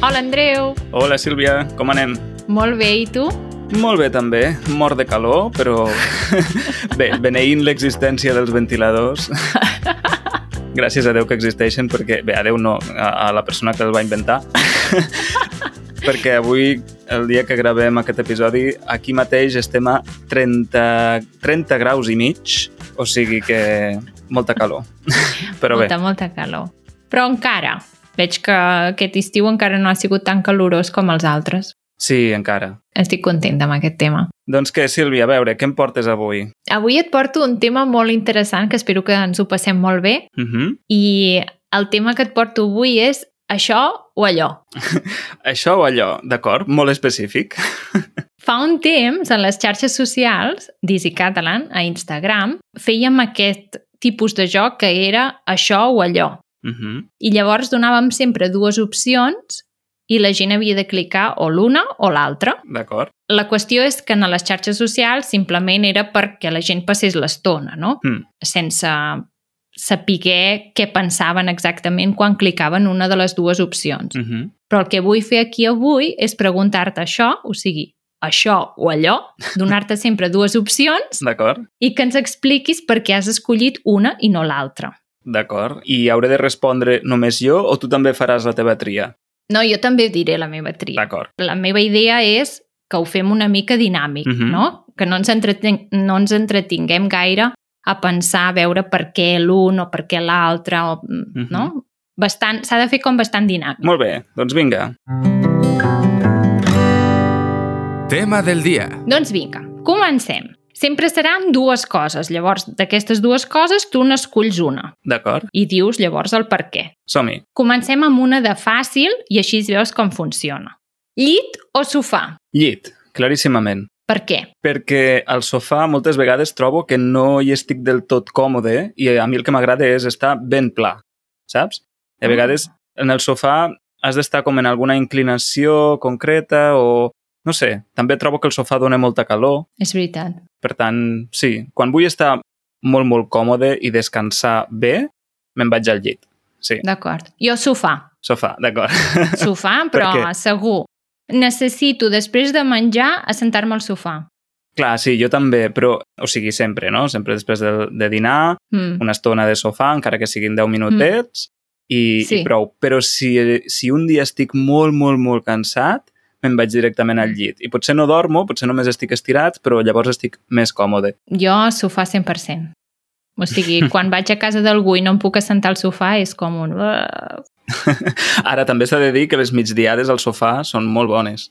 Hola, Andreu. Hola, Sílvia, com anem? Molt bé, i tu? Molt bé, també. Mort de calor, però... bé, beneint l'existència dels ventiladors. Gràcies a Déu que existeixen, perquè... Bé, a Déu no, a, a la persona que els va inventar. perquè avui, el dia que gravem aquest episodi, aquí mateix estem a 30, 30 graus i mig, o sigui que molta calor. però bé, molta, molta calor. Però encara, veig que aquest estiu encara no ha sigut tan calorós com els altres. sí, encara. Estic contenta amb aquest tema. Doncs què, Sílvia, a veure, què em portes avui? Avui et porto un tema molt interessant que espero que ens ho passem molt bé Uh -huh. i el tema que et porto avui és això o allò. Això o allò, d'acord? Molt específic. Fa un temps, en les xarxes socials, Dizzy Catalan, a Instagram, fèiem aquest tipus de joc que era això o allò. Uh -huh. I llavors donàvem sempre dues opcions i la gent havia de clicar o l'una o l'altra. D'acord. La qüestió és que en les xarxes socials simplement era perquè la gent passés l'estona, no? Mm. Sense saber què pensaven exactament quan clicaven una de les dues opcions. Uh -huh. Però el que vull fer aquí avui és preguntar-te això, o sigui, això o allò, donar-te sempre dues opcions D'acord. i que ens expliquis per què has escollit una i no l'altra. D'acord. I hauré de respondre només jo o tu també faràs la teva tria? No, jo també diré la meva tria. D'acord. La meva idea és que ho fem una mica dinàmic, Mhm. no? Que no ens, entreten no ens entretinguem gaire a pensar, a veure per què l'un o per què l'altre, o... mm, Mhm. no? Bastant, s'ha de fer com bastant dinàmic. Molt bé, doncs vinga. Tema del día. Doncs vinga, comencem. Sempre seran dues coses. Llavors, d'aquestes dues coses, tu n'esculls una D'acord. i dius llavors el per què. Som-hi. Comencem amb una de fàcil i així veus com funciona. Llit o sofà? Llit, claríssimament. Per què? Perquè al sofà moltes vegades trobo que no hi estic del tot còmode i a mi el que m'agrada és estar ben pla, saps? I a vegades en el sofà has d'estar com en alguna inclinació concreta o... No sé, també trobo que el sofà dona molta calor És veritat. Per tant, sí, quan vull estar molt, molt còmode i descansar bé, me'n vaig al llit. Sí, D'acord. Jo sofà. sofà, d'acord. Sofà, Per però què? segur. Necessito, després de menjar, assentar-me al sofà. Clar, sí, jo també, però, o sigui, sempre, no? Sempre després de, de dinar, Mm. una estona de sofà, encara que siguin 10 minutets, i, Sí. i prou. Però si, si un dia estic molt, molt, molt cansat, me'n vaig directament al llit. I potser no dormo, potser només estic estirat, però llavors estic més còmode. Jo sofà 100%. O sigui, quan vaig a casa d'algú i no em puc assentar al sofà, és com un... Ara també s'ha de dir que les migdiades al sofà són molt bones.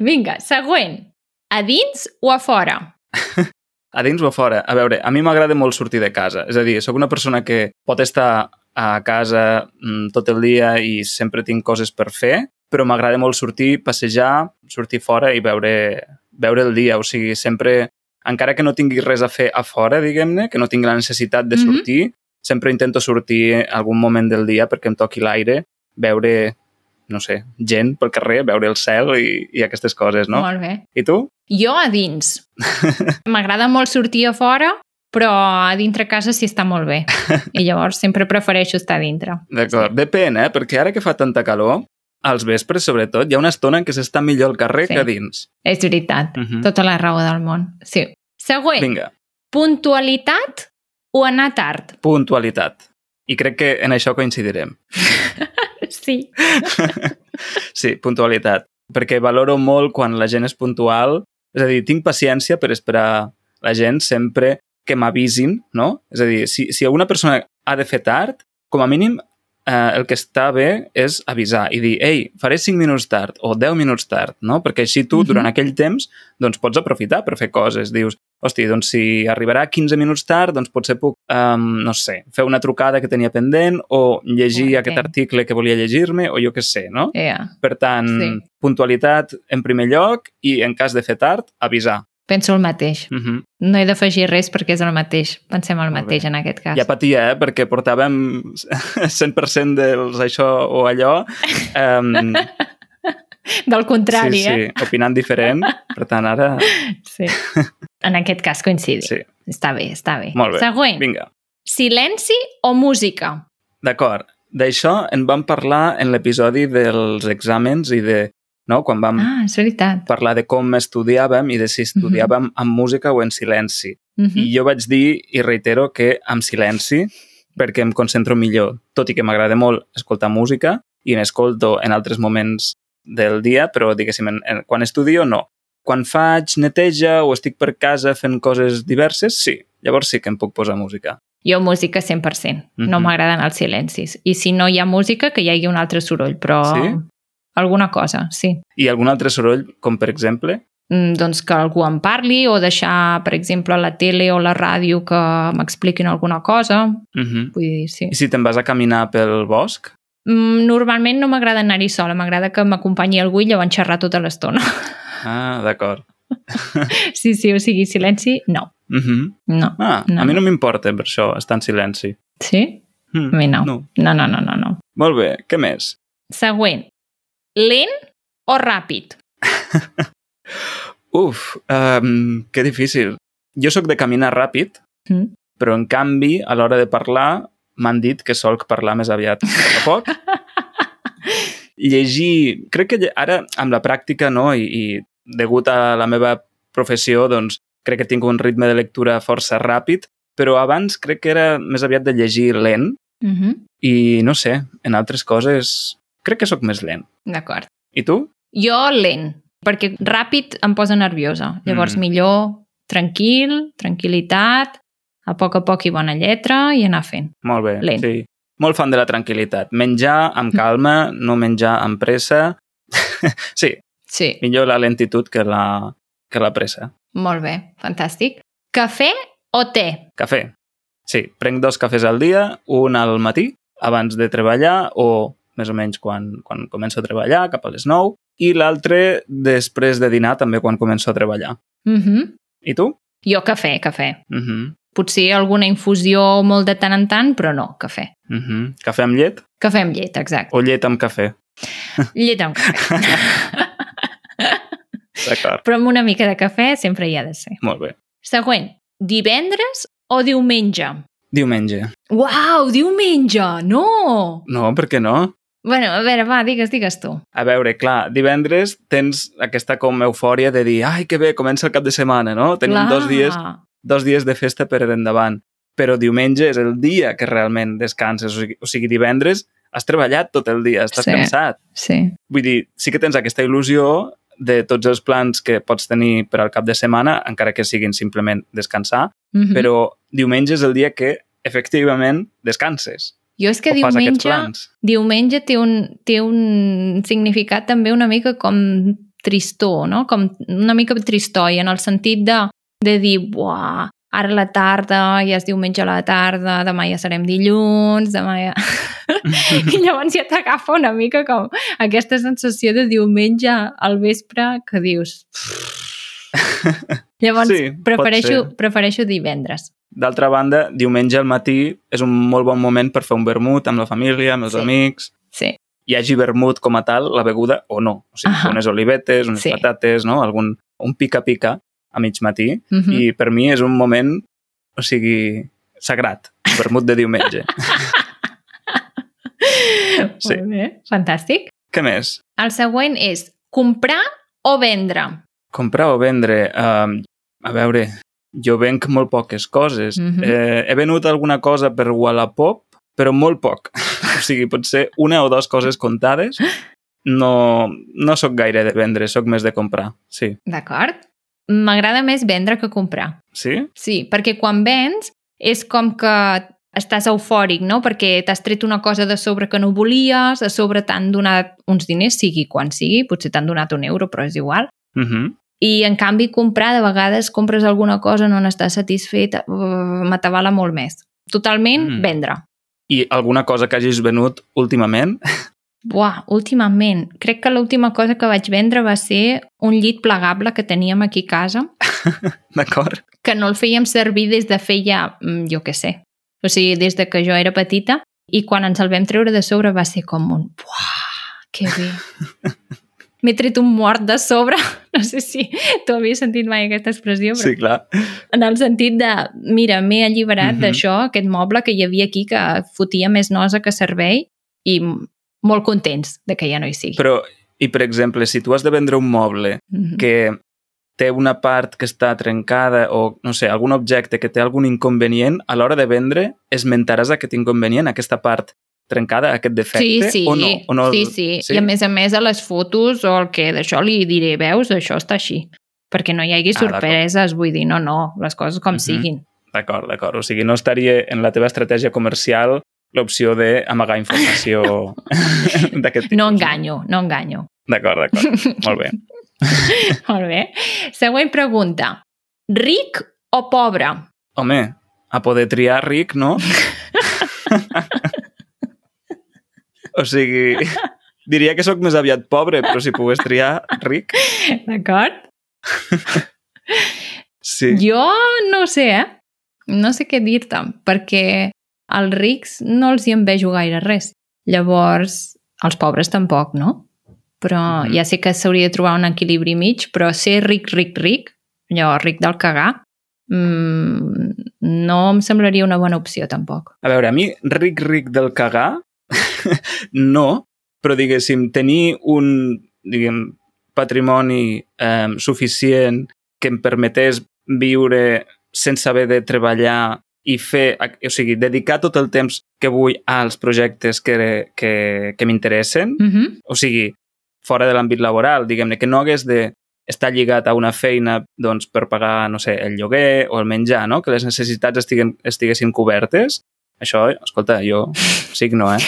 Vinga, següent. A dins o a fora? a dins o a fora? A veure, a mi m'agrada molt sortir de casa. És a dir, sóc una persona que pot estar a casa mm, tot el dia i sempre tinc coses per fer, però m'agrada molt sortir, passejar, sortir fora i veure, veure el dia. O sigui, sempre, encara que no tingui res a fer a fora, diguem-ne, que no tingui la necessitat de Mhm. sortir, sempre intento sortir algun moment del dia perquè em toqui l'aire, veure, no sé, gent pel carrer, veure el cel i, i aquestes coses, no? Molt bé. I tu? Jo a dins. M'agrada molt sortir a fora, però a dintre casa sí està molt bé. I llavors sempre prefereixo estar a dintre. D'acord. Depèn, eh? Perquè ara que fa tanta calor, als vespres, sobretot, hi ha una estona en què s'està millor al carrer Sí. sí. que a dins. És veritat. Uh -huh. Tota la raó del món. Sí. Següent. Vinga, puntualitat o anar tard? puntualitat. I crec que en això coincidirem. Sí. Sí, puntualitat. Perquè valoro molt quan la gent és puntual. És a dir, tinc paciència per esperar la gent sempre que m'avisin, no? És a dir, si, si alguna persona ha de fer tard, com a mínim eh, el que està bé és avisar i dir, ei, faré 5 minuts tard o 10 minuts tard, no? Perquè així tu, Mhm. durant aquell temps, doncs pots aprofitar per fer coses. Dius, hosti, doncs si arribarà 15 minuts tard, doncs potser puc, um, no sé, fer una trucada que tenia pendent o llegir Ja, aquest entenc. article que volia llegir-me o jo què sé, no? Yeah. Per tant, Sí. puntualitat en primer lloc i, en cas de fer tard, avisar. Penso el mateix. Uh -huh. No he d'afegir res perquè és el mateix. Pensem el Molt mateix bé. en aquest cas. Ja patia, eh? Perquè portàvem 100% dels això o allò. Um, Del contrari, sí, sí, opinant diferent. Per tant, ara... eh? Sí. En aquest cas coincidim. Sí, Està bé, està bé. molt bé. Següent. Vinga. Silenci o música? D'acord. D'això en vam parlar en l'episodi dels exàmens i de... No? Quan vam Ah, Mhm. és veritat. parlar de com estudiàvem i de si estudiàvem amb música o en silenci. Uh I jo vaig dir, i reitero, que amb silenci, perquè em concentro millor, tot i que m'agrada molt escoltar música i n'escolto en altres moments del dia, però diguéssim, en, en, quan estudio, no. Quan faig neteja o estic per casa fent coses diverses, sí. Llavors sí que em puc posar música. Jo música 100%. No Mhm. m'agraden els silencis. I si no hi ha música, que hi hagi un altre soroll, però... Sí? Alguna cosa, sí. I algun altre soroll, com per exemple... Mm, doncs que algú em parli o deixar, per exemple, a la tele o la ràdio que m'expliquin alguna cosa. Uh -huh. Vull dir, sí. I si te'n vas a caminar pel bosc? Mm, Normalment no m'agrada anar-hi sola, m'agrada que m'acompanyi algú i llavors xerrar tota l'estona. Ah, d'acord. Sí, sí, o sigui, silenci, no. Uh -huh. No. Ah, no. No. a mi no m'importa per això, estar en silenci. Sí? Mm. A mi no. no. No, no, no, no. no. Molt bé, què més? Següent. Lent o ràpid? Uf, um, que difícil. Jo sóc de caminar ràpid, Mm? però en canvi, a l'hora de parlar, m'han dit que solc parlar més aviat a poc. Llegir... Crec que lle- ara, amb la pràctica, no?, i, i degut a la meva professió, doncs, crec que tinc un ritme de lectura força ràpid, però abans crec que era més aviat de llegir lent, Mm -hmm. i no sé, en altres coses crec que sóc més lent. D'acord. I tu? Jo lent, perquè ràpid em posa nerviosa. Llavors, Mm. mm. millor tranquil, tranquil·litat, a poc a poc i bona lletra i anar fent. Molt bé. Lent. Sí. Molt fan de la tranquil·litat. Menjar amb calma, no menjar amb pressa. sí, Sí, millor la lentitud que la, que la pressa. molt bé, fantàstic. Cafè o te? Cafè. Sí, prenc dos cafès al dia, un al matí, abans de treballar o més o menys quan, quan començo a treballar, cap a les 9, i l'altre després de dinar, també quan començo a treballar. Mm -hmm. I tu? Jo cafè, cafè. Uh -huh. Potser alguna infusió molt de tant en tant, però no, cafè. Uh -huh. Cafè amb llet Cafè amb llet, exacte. o llet amb cafè? Llet amb cafè. D'acord, Però amb una mica de cafè sempre hi ha de ser. molt bé. Següent. Divendres o diumenge? Diumenge. Uau, diumenge! No! No, per què no? bueno, a veure, va, digues, digues tu. A veure, clar, divendres tens aquesta com eufòria de dir ai, que bé, comença el cap de setmana, no? Tenim Clar. dos dies, dos dies de festa per endavant. Però diumenge és el dia que realment descanses. O sigui, o sigui divendres has treballat tot el dia, estàs Sí. sí. cansat. Sí. Vull dir, sí que tens aquesta il·lusió de tots els plans que pots tenir per al cap de setmana, encara que siguin simplement descansar, Mm -hmm. però diumenge és el dia que efectivament descanses jo és que o fas diumenge, aquests plans. diumenge té, un, té un significat també una mica com tristó, no? Com una mica tristoi, en el sentit de, de dir, buah, ara a la tarda, ja és diumenge a la tarda, demà ja serem dilluns, demà ja... I llavors ja t'agafa una mica com aquesta sensació de diumenge al vespre que dius... Llavors, Sí, sí, pot ser. prefereixo, prefereixo divendres. D'altra banda, diumenge al matí és un molt bon moment per fer un vermut amb la família, amb els Sí. sí. amics. Sí, Hi hagi vermut com a tal, la beguda, o no. O sigui, Ahà. unes olivetes, unes Sí. sí. patates, no? Algun, un pica-pica a mig matí. mm Mm. I per mi és un moment, o sigui, sagrat. el Vermut de diumenge. sí. Molt bé, fantàstic. Què més? El següent és comprar o vendre. Comprar o vendre? Um, a veure, jo venc molt poques coses. Mm Mhm. -hmm. eh, he venut alguna cosa per Wallapop, però molt poc. o sigui, potser una o dues coses contades. No, no sóc gaire de vendre, sóc més de comprar. Sí. D'acord? M'agrada més vendre que comprar. Sí? Sí, perquè quan vens és com que estàs eufòric, no? Perquè t'has tret una cosa de sobre que no volies, a sobre t'han donat uns diners, sigui quan sigui, potser t'han donat un euro, però és igual. Uh -huh. I, en canvi, comprar, de vegades compres alguna cosa, no n'estàs satisfet, uh, m'atabala molt més. Totalment, Mm. mm. vendre. I alguna cosa que hagis venut últimament? Buah, últimament. Crec que l'última cosa que vaig vendre va ser un llit plegable que teníem aquí a casa D'acord? que no el fèiem servir des de fer ja, mm, jo què sé, o sigui, des de que jo era petita, i quan ens el vam treure de sobre va ser com un... Buah, que bé. M'he tret un mort de sobre. No sé si tu havies sentit mai aquesta expressió, però Sí, clar. en el sentit de, mira, m'he alliberat Mhm. d'això, aquest moble que hi havia aquí que fotia més nosa que servei i m- molt contents de que ja no hi sigui. Però, i per exemple, si tu has de vendre un moble Mhm. que té una part que està trencada o, no sé, algun objecte que té algun inconvenient, a l'hora de vendre esmentaràs aquest inconvenient, aquesta part trencada, Sí, aquest defecte, sí, o no? O no sí, sí, I a més a més a les fotos o el que d'això li diré, veus, això està així. Perquè no hi hagi Ah, d'acord. sorpreses, vull dir, no, no, les coses com Mhm. siguin. D'acord, d'acord. O sigui, no estaria en la teva estratègia comercial l'opció d'amagar informació d'aquest tipus. No enganyo, no enganyo. D'acord, d'acord. Molt bé. Molt bé. Següent pregunta. Ric o pobre? Home, a poder triar ric, no? o sigui, diria que sóc més aviat pobre, però si pogués triar ric, D'acord? sí. Jo no ho sé, eh? No sé què dir-te, perquè als rics no els hi en vejo gaire res. Llavors, els pobres tampoc, no? Però mm Mhm. -hmm. ja sé que s'hauria de trobar un equilibri mig, però ser ric, ric, ric, allò, ric del cagar, mm, no em semblaria una bona opció, tampoc. A veure, a mi ric, ric del cagar, no, però diguéssim, tenir un, diguem, patrimoni eh, suficient que em permetés viure sense haver de treballar i fer, ac- o sigui, dedicar tot el temps que vull als projectes que, que, que m'interessen, Mm -hmm. o sigui, fora de l'àmbit laboral, diguem-ne, que no hagués de estar lligat a una feina doncs, per pagar, no sé, el lloguer o el menjar, no? que les necessitats estiguen, estiguessin cobertes. Això, escolta, jo signo, eh?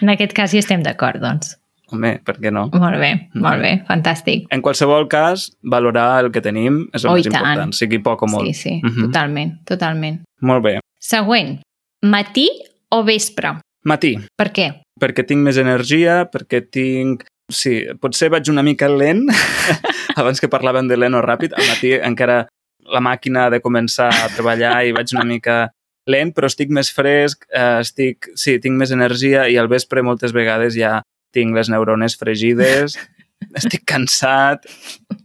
En aquest cas hi estem d'acord, doncs. Home, per què no? Molt bé, molt Mhm. bé, fantàstic. En qualsevol cas, valorar el que tenim és el Oh, més i tant. important, sigui poc o molt. Sí, sí, Sí. Mhm. totalment, totalment. Molt bé. Següent, matí o vespre? Matí, Per què? perquè tinc més energia, perquè tinc... Sí, potser vaig una mica lent, abans que parlàvem de lent o ràpid, al matí encara la màquina ha de començar a treballar i vaig una mica lent, però estic més fresc, eh, estic, sí, tinc més energia i al vespre moltes vegades ja tinc les neurones fregides, estic cansat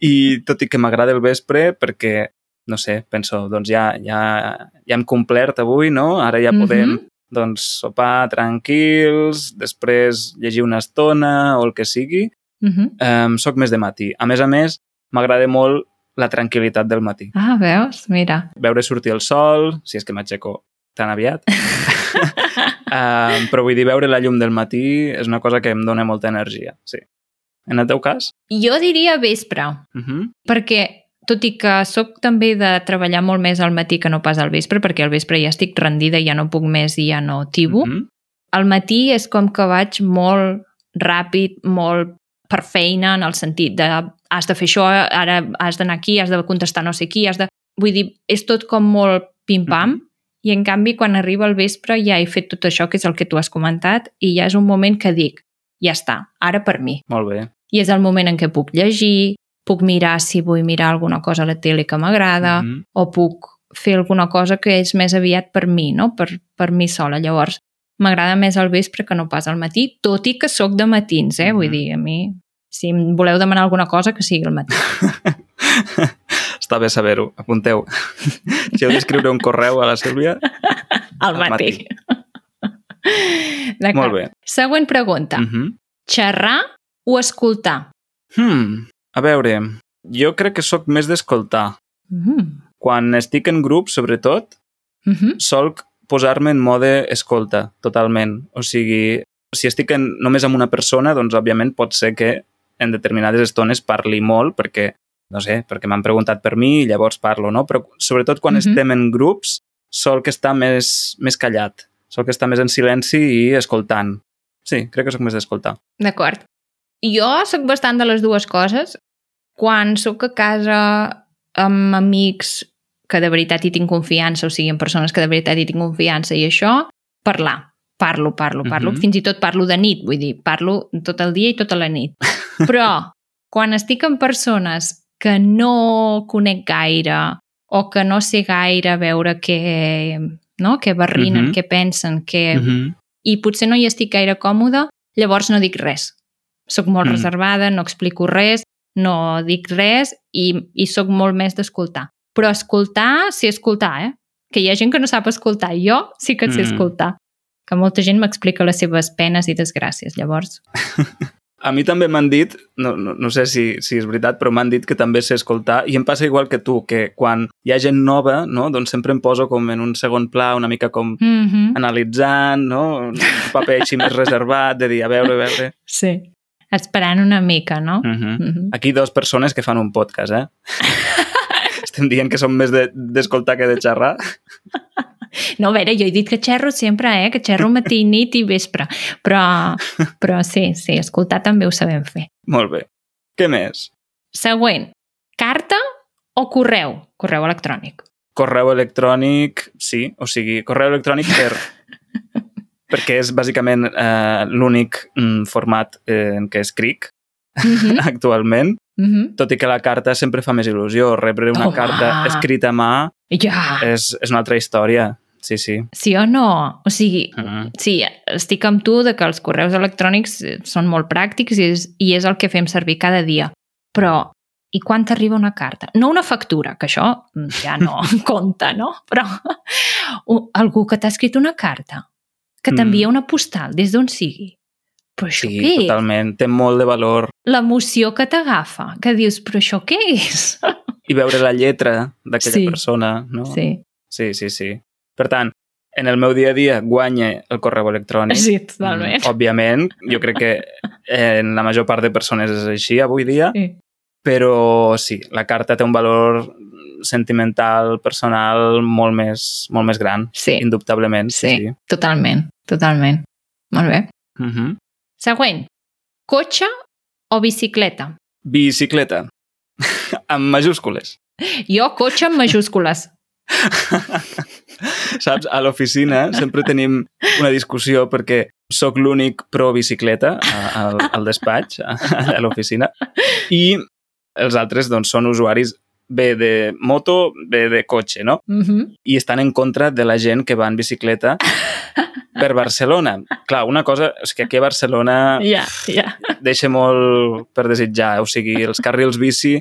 i tot i que m'agrada el vespre perquè, no sé, penso, doncs ja, ja, ja hem complert avui, no? Ara ja podem Mhm. doncs sopar tranquils, després llegir una estona o el que sigui. Mhm. Um, soc més de matí. A més a més, m'agrada molt la tranquil·litat del matí. Ah, veus? Mira. Veure sortir el sol, si és que m'aixeco tan aviat. um, però vull dir, veure la llum del matí és una cosa que em dona molta energia, sí. En el teu cas? Jo diria vespre, Uh -huh. perquè tot i que sóc també de treballar molt més al matí que no pas al vespre, perquè al vespre ja estic rendida, ja no puc més i ja no tibo. Mm-hmm. Mm -hmm. Al matí és com que vaig molt ràpid, molt per feina, en el sentit de has de fer això, ara has d'anar aquí, has de contestar no sé qui, has de... Vull dir, és tot com molt pim-pam, Mhm. i en canvi quan arriba el vespre ja he fet tot això que és el que tu has comentat i ja és un moment que dic, ja està, ara per mi. Molt bé. i és el moment en què puc llegir, puc mirar si vull mirar alguna cosa a la tele que m'agrada, mm Mhm. -hmm. o puc fer alguna cosa que és més aviat per mi, no? per, per mi sola. Llavors, m'agrada més al vespre que no pas al matí, tot i que sóc de matins, eh? Vull Mhm. dir, a mi, si em voleu demanar alguna cosa, que sigui al matí. Està bé saber-ho, apunteu. si heu d'escriure un correu a la Sílvia, Al Al matí. matí. D'acord. molt bé. Següent pregunta. Uh Mm. -huh. Xerrar o escoltar? Hmm, a veure, jo crec que sóc més d'escoltar. Mm Quan estic en grup, sobretot, -hmm. sol posar-me en mode escolta, totalment. O sigui, si estic en, només amb una persona, doncs, òbviament, pot ser que en determinades estones parli molt perquè, no sé, perquè m'han preguntat per mi i llavors parlo, no? Però sobretot quan Mhm. estem en grups, sol que està més, més callat, sol que està més en silenci i escoltant. Sí, crec que sóc més d'escoltar. D'acord. Jo sóc bastant de les dues coses. Quan sóc a casa amb amics que de veritat hi tinc confiança, o sigui, amb persones que de veritat hi tinc confiança i això, parlar. Parlo, parlo, parlo. Mhm. Fins i tot parlo de nit, vull dir, parlo tot el dia i tota la nit. Però quan estic amb persones que no conec gaire o que no sé gaire veure què, no? què barrinen, Mhm. què pensen, què... Mhm. i potser no hi estic gaire còmoda, llavors no dic res. Soc molt Mm. reservada, no explico res, no dic res i, i sóc molt més d'escoltar. Però escoltar, sí escoltar, eh? Que hi ha gent que no sap escoltar. Jo sí que sé Mm. escoltar. Que molta gent m'explica les seves penes i desgràcies, llavors. A mi també m'han dit, no, no, no sé si, si és veritat, però m'han dit que també sé escoltar i em passa igual que tu, que quan hi ha gent nova, no, doncs sempre em poso com en un segon pla, una mica com Mm -hmm. analitzant, no? un paper així més reservat, de dir, a veure, a veure... Sí. Esperant una mica, no? Uh -huh. Mm -hmm. Aquí dos persones que fan un podcast, eh? Estem dient que som més de- d'escoltar de, que de xerrar. No, a veure, jo he dit que xerro sempre, eh? Que xerro matí, nit i vespre. Però, però sí, sí, escoltar també ho sabem fer. Molt bé. Què més? Següent, carta o correu? Correu electrònic. Correu electrònic, sí, o sigui, correu electrònic per... perquè és bàsicament eh, l'únic mm, format eh, en què escric Mhm, actualment, mhm. tot i que la carta sempre fa més il·lusió. Rebre una Home! carta escrita a mà Ja, és, és una altra història. Sí, sí. ah, sí o no? O sigui, Mm. sí, estic amb tu de que els correus electrònics eh, són molt pràctics i és, i és el que fem servir cada dia. Però, i quan t'arriba una carta? No una factura, que això mm, ja no compta, no? Però o- algú que t'ha escrit una carta, que Mm. t'envia una postal, des d'on sigui. Però això Sí, què és? totalment. Té molt de valor. L'emoció que t'agafa, que dius, però això què és? I veure la lletra d'aquella Sí. persona, no? Sí, Sí, sí, sí. Per tant, en el meu dia a dia guanya el correu electrònic. sí, totalment. Mm, Òbviament, jo crec que eh, en la major part de persones és així avui dia, Sí. però sí, la carta té un valor sentimental, personal, molt més, molt més gran, sí, indubtablement. Sí. Sí. sí. totalment, totalment. Molt bé. Uh -huh. Següent, cotxe o bicicleta? Bicicleta, amb majúscules. Jo, cotxe amb majúscules. Saps, a l'oficina sempre tenim una discussió perquè sóc l'únic pro bicicleta a- al, al despatx, a, a l'oficina, i els altres doncs, són usuaris bé de moto, bé de cotxe, no? Mm -hmm. I estan en contra de la gent que va en bicicleta per Barcelona. Clar, una cosa és que aquí a Barcelona Ja, ja. deixa molt per desitjar. eh? O sigui, els carrils bici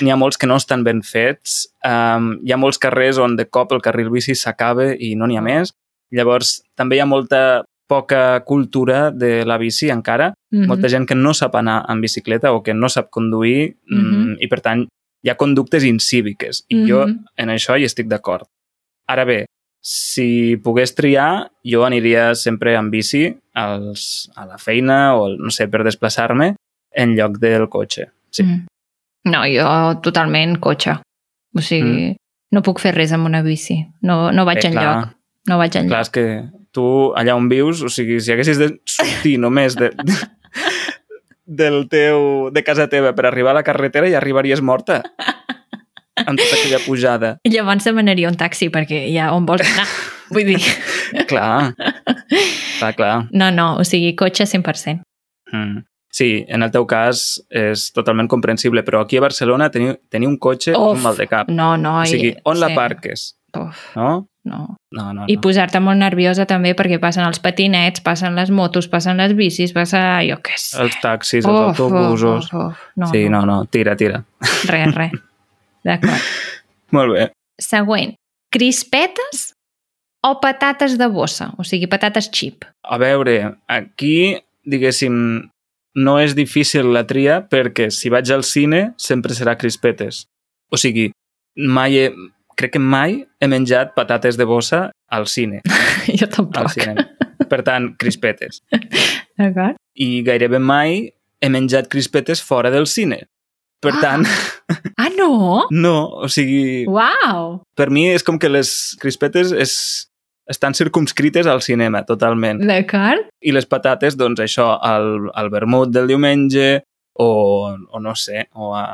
n'hi ha molts que no estan ben fets. Um, hi ha molts carrers on de cop el carril bici s'acaba i no n'hi ha més. Llavors, també hi ha molta poca cultura de la bici encara. Mm -hmm. Molta gent que no sap anar en bicicleta o que no sap conduir Mhm. mm, i, per tant, hi ha conductes incíviques. I jo Mhm. en això hi estic d'acord. Ara bé, si pogués triar, jo aniria sempre amb bici als, a la feina o, no sé, per desplaçar-me en lloc del cotxe. Sí. Mm. No, jo totalment cotxe. O sigui, mm. no puc fer res amb una bici. No, no vaig Bé, Eh, clar. enlloc. No vaig enlloc. Clar, és que tu allà on vius, o sigui, si haguessis de sortir només de, de, del teu, de casa teva per arribar a la carretera, ja arribaries morta amb tota aquella pujada. Llavors demanaria un taxi perquè ja on vols anar. Vull dir, Clar, clar, clar. no, no, o sigui, cotxe 100%. Mm. Sí, en el teu cas és totalment comprensible, però aquí a Barcelona tenir, tenir un cotxe és Uf, un mal de cap. No, no. o i- sigui, on la sí. parques? Uf, No? no, No, no, no. I posar-te molt nerviosa també perquè passen els patinets, passen les motos, passen les bicis, passa... jo què sé. Els taxis, els autobusos... Uf, uf, no, sí, no, no, tira, tira. Res, res. D'acord. Molt bé. Següent. Crispetes o patates de bossa? O sigui, patates xip. A veure, aquí, diguéssim, no és difícil la tria perquè si vaig al cine sempre serà crispetes. O sigui, mai he, crec que mai he menjat patates de bossa al cine. Jo Al tampoc. cine. Per tant, crispetes. D'acord. i gairebé mai he menjat crispetes fora del cine. Per Ah. tant, Ah, no? no, o sigui, Uau! per mi és com que les crispetes és, estan circumscrites al cinema, Mm. totalment. D'acord. I les patates, doncs això, al, al vermut del diumenge o, o no sé, o a,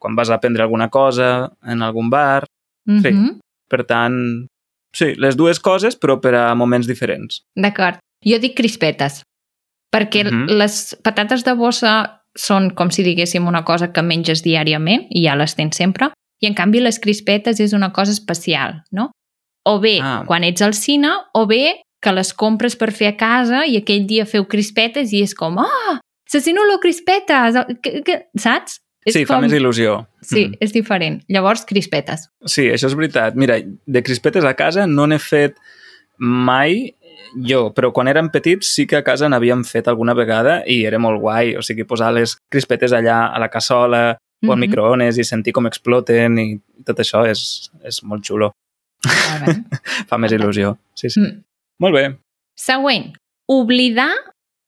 quan vas a prendre alguna cosa en algun bar. Mm Sí. Per tant, sí, les dues coses, però per a moments diferents. D'acord. Jo dic crispetes, perquè Mhm. les patates de bossa són com si diguéssim una cosa que menges diàriament i ja les tens sempre, i en canvi les crispetes és una cosa especial, no? O bé Ah. ah. quan ets al cine, o bé que les compres per fer a casa i aquell dia feu crispetes i és com, ah, assassino lo crispetes, que, que... saps? És Sí, com... fa més il·lusió. Sí, Mm. és diferent. Llavors, crispetes. Sí, això és veritat. Mira, de crispetes a casa no n'he fet mai jo, però quan érem petits sí que a casa n'havíem fet alguna vegada i era molt guai, o sigui, posar les crispetes allà a la cassola o al Mhm. microones i sentir com exploten i tot això és, és molt xulo. Molt bé. Fa més il·lusió. Sí, sí. Mm. Molt bé. Següent, oblidar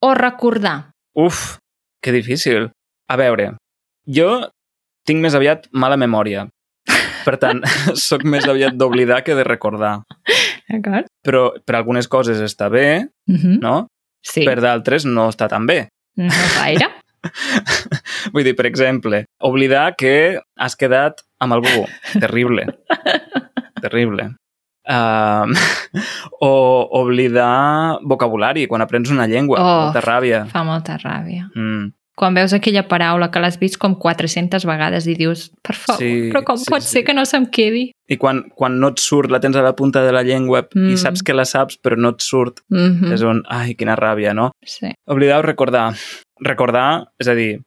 o recordar. Uf, que difícil. A veure, jo tinc més aviat mala memòria. Per tant, sóc més aviat d'oblidar que de recordar. D'acord? Però per algunes coses està bé, Uh -huh. no? Sí, per d'altres no està tan bé. no gaire. Vull dir, per exemple, oblidar que has quedat amb algú. Terrible. Terrible. Um, o oblidar vocabulari quan aprens una llengua. Oh. Molta ràbia. Fa molta ràbia. Mm. Quan veus aquella paraula que l'has vist com 400 vegades i dius, per favor, Sí, sí, però com sí, sí, pot sí. sí. ser que no se'm quedi? I quan, quan no et surt, la tens a la punta de la llengua mm. i Mm. saps que la saps, però no et surt. Mm Mm. És -hmm. un... Ai, quina ràbia, no? Sí. Oblidar o recordar. Recordar, és a dir,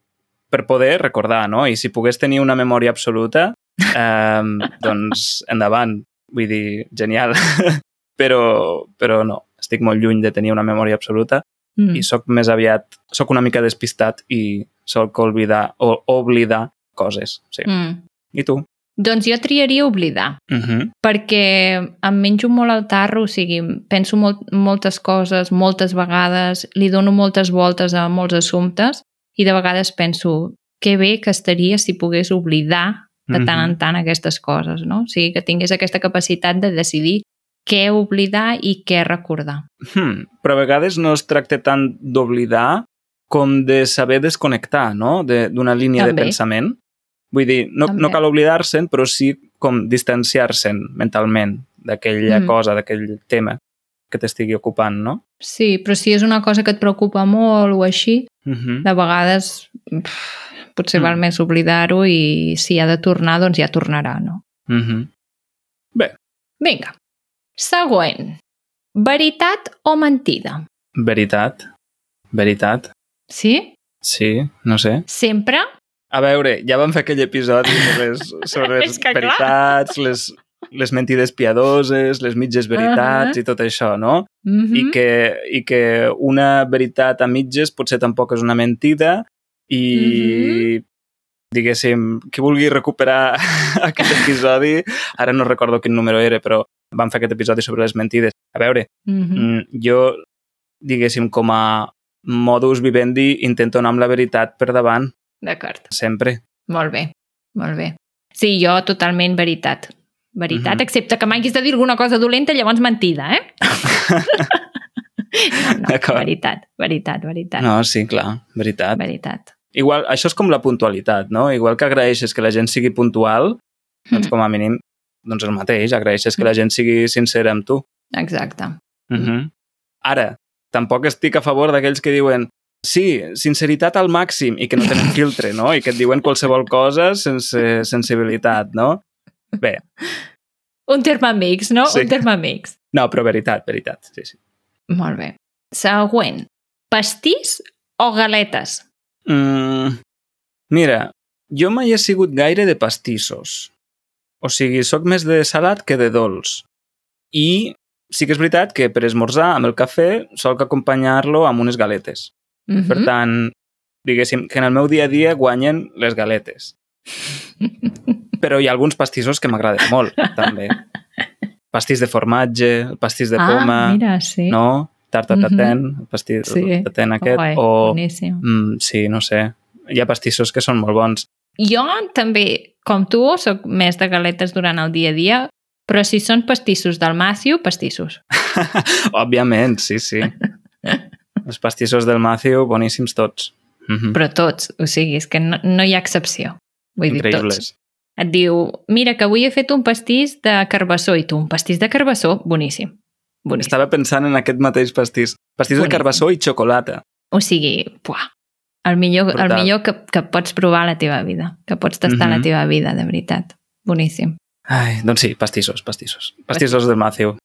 per poder recordar, no? I si pogués tenir una memòria absoluta, eh, doncs endavant. Vull dir, genial. però, però no, estic molt lluny de tenir una memòria absoluta Mm. i sóc més aviat, sóc una mica despistat i sóc oblidar o oblidar coses, sí. Mm. I tu? Doncs jo triaria oblidar, Uh -huh. perquè em menjo molt al tarro, o sigui, penso molt, moltes coses, moltes vegades, li dono moltes voltes a molts assumptes i de vegades penso, que bé que estaria si pogués oblidar de tant en tant aquestes coses, no? O sigui, que tingués aquesta capacitat de decidir què oblidar i què recordar. Hmm. Però a vegades no es tracta tant d'oblidar com de saber desconnectar, no?, De- d'una línia També. de pensament. Vull dir, no, També. no cal oblidar-se'n, però sí com distanciar-se'n mentalment d'aquella Mm. mm. cosa, d'aquell tema que t'estigui ocupant, no? Sí, però si és una cosa que et preocupa molt o així, Uh -huh. de vegades pff, potser Mm. val més oblidar-ho i si ha de tornar, doncs ja tornarà, no? Uh -huh. Vinga. Següent. Veritat o mentida? Veritat. Veritat. Sí? Sí, no sé. Sempre? A veure, ja vam fer aquell episodi sobre les, sobre les És que clar. veritats, les, les mentides piadoses, les mitges veritats uh -huh. i tot això, no? Mm -hmm. i, que, i que una veritat a mitges potser tampoc és una mentida i, diguéssim, qui vulgui recuperar aquest episodi, ara no recordo quin número era, però vam fer aquest episodi sobre les mentides. A veure, Mm -hmm. mm. jo, diguéssim, com a modus vivendi intento anar amb la veritat per davant, D'acord. sempre. Molt bé, molt bé. Sí, jo totalment veritat. Veritat, Mhm. excepte que m'haguis de dir alguna cosa dolenta, llavors mentida, eh? no, no, D'acord. veritat, veritat, veritat. No, sí, clar, veritat. Veritat. Igual, això és com la puntualitat, no? Igual que agraeixes que la gent sigui puntual, doncs Mm. com a mínim, doncs el mateix, agraeixes que la gent sigui sincera amb tu. Exacte. Uh -huh. Ara, tampoc estic a favor d'aquells que diuen sí, sinceritat al màxim i que no tenen filtre, no? I que et diuen qualsevol cosa sense sensibilitat, no? Bé, Un terme mix, no? Sí. Un terme mix. no, però veritat, veritat, sí, sí. Molt bé. Següent. Pastís o galetes? Mm, mira, jo mai he sigut gaire de pastissos. O sigui, sóc més de salat que de dolç. I sí que és veritat que per esmorzar amb el cafè solc acompanyar-lo amb unes galetes. Mm Per tant, diguéssim, que en el meu dia a dia guanyen les galetes. Però hi ha alguns pastissos que m'agraden molt, també. Pastís de formatge, pastís de ah, poma, mira, sí. no? Tarta Mhm. taten, el pastís Sí. taten aquest, Guai, o... Boníssim. Mm, sí, no sé. Hi ha pastissos que són molt bons. Jo també, com tu, sóc més de galetes durant el dia a dia, però si són pastissos del Matthew, pastissos. Òbviament, sí, sí. Els pastissos del Matthew, boníssims tots. Mhm. Però tots, o sigui, és que no, no hi ha excepció. Vull dir, tots. Increïbles. Et diu, mira, que avui he fet un pastís de carbassó, i tu, un pastís de carbassó, boníssim. boníssim. Estava pensant en aquest mateix pastís. Pastís de Boníssim. carbassó i xocolata. O sigui, buah, El millor, el Brutal. millor que, que pots provar a la teva vida, que pots tastar a la Mhm. teva vida, de veritat. Boníssim. Ai, doncs sí, pastissos, pastissos. Pastissos del Matthew.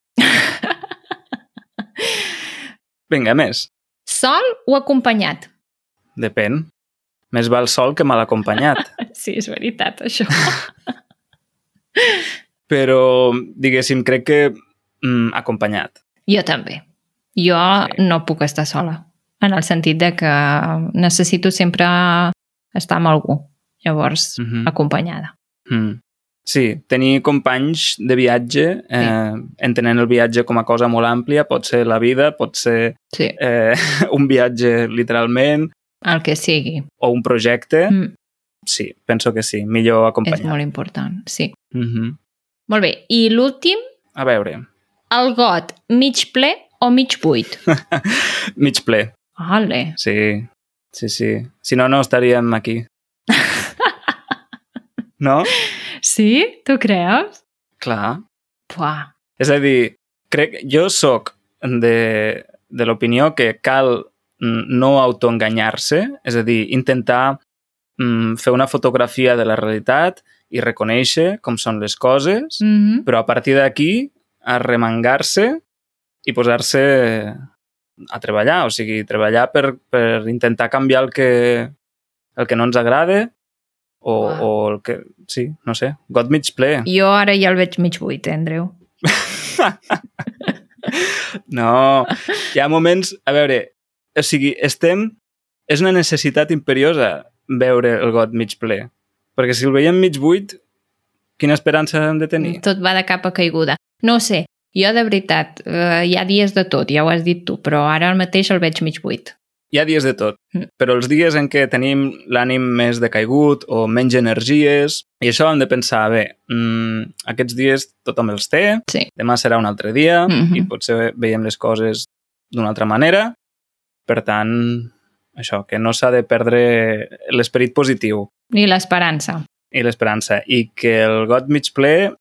Vinga, més. Sol o acompanyat? Depèn. Més val sol que mal acompanyat. Sí, és veritat, això. Però, diguéssim, crec que mm, acompanyat. Jo també. Jo Sí. sí. no puc estar sola, en el sentit de que necessito sempre estar amb algú. Llavors, Mhm. acompanyada. Mm. Sí, tenir companys de viatge, eh, entenent el viatge com a cosa molt àmplia, pot ser la vida, pot ser Sí, eh, un viatge literalment, el que sigui. o un projecte. Mm, Sí, penso que sí, millor és acompanyat. molt important, sí. Mm -hmm. Molt bé, i l'últim, A veure, el got mig ple o mig buit? mig ple, Vale. sí, sí, sí. Si no, no estaríem aquí. No? Sí? Tu creus? Clar. Puà. És a dir, crec, jo sóc de, de l'opinió que cal mm, no autoenganyar-se, és a dir, intentar mm, fer una fotografia de la realitat i reconèixer com són les coses, Mm -hmm. però a partir d'aquí arremangar-se i posar-se a treballar, o sigui, treballar per, per intentar canviar el que, el que no ens agrada o, Uah. o el que... Sí, no sé, got mig ple. Jo ara ja el veig mig buit, eh, Andreu. No, hi ha moments... A veure, o sigui, estem... És una necessitat imperiosa veure el got mig ple. Perquè si el veiem mig buit, quina esperança hem de tenir? Tot va de cap a caiguda. No ho sé, jo de veritat, eh, hi ha dies de tot, ja ho has dit tu, però ara el mateix el veig mig buit. Hi ha dies de tot, Mm. però els dies en què tenim l'ànim més decaigut o menys energies, i això hem de pensar, bé, mm, aquests dies tothom els té, Sí. demà serà un altre dia Mhm. i potser veiem les coses d'una altra manera. Per tant, això, que no s'ha de perdre l'esperit positiu I l'esperança. i l'esperança i que el got mig ple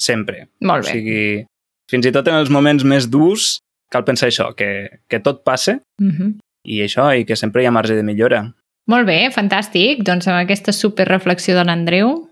sempre. Molt O bé. sigui, fins i tot en els moments més durs cal pensar això, que, que tot passa Mm -hmm. i això, i que sempre hi ha marge de millora. Molt bé, fantàstic. Doncs amb aquesta superreflexió de l'Andreu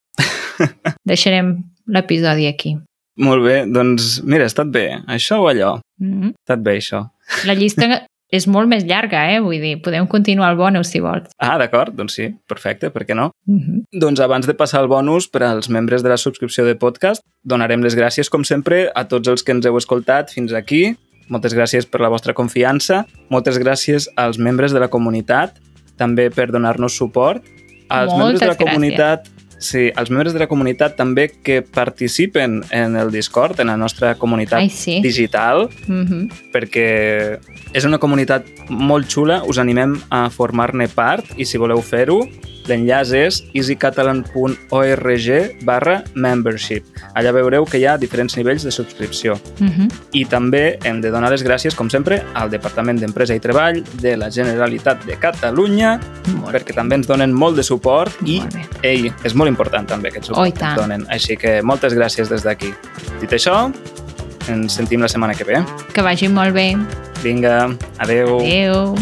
deixarem l'episodi aquí. Molt bé, doncs mira, ha estat bé, això o allò? Ha Mm -hmm. estat bé, això. La llista és molt més llarga, eh? Vull dir, podem continuar el bonus si vols. Ah, d'acord, doncs sí, perfecte, per què no? Mm -hmm. Doncs abans de passar al bonus per als membres de la subscripció de podcast, donarem les gràcies, com sempre, a tots els que ens heu escoltat fins aquí. Moltes gràcies per la vostra confiança. Moltes gràcies als membres de la comunitat, també per donar-nos suport. Als membres de la Moltes gràcies. comunitat, sí, als membres de la comunitat també que participen en el Discord, en la nostra comunitat Ai, sí. digital, Mm -hmm. perquè és una comunitat molt xula, us animem a formar-ne part i si voleu fer-ho, l'enllaç és easycatalan.org barra membership. Allà veureu que hi ha diferents nivells de subscripció. Mm -hmm. I també hem de donar les gràcies, com sempre, al Departament d'Empresa i Treball de la Generalitat de Catalunya, Molt perquè també ens donen molt de suport i Molt bé. Ei, és molt important també aquest Oh, i suport que tant. ens donen. Així que moltes gràcies des d'aquí. Dit això, ens sentim la setmana que ve. Que vagi molt bé. Vinga, adeu. Adéu.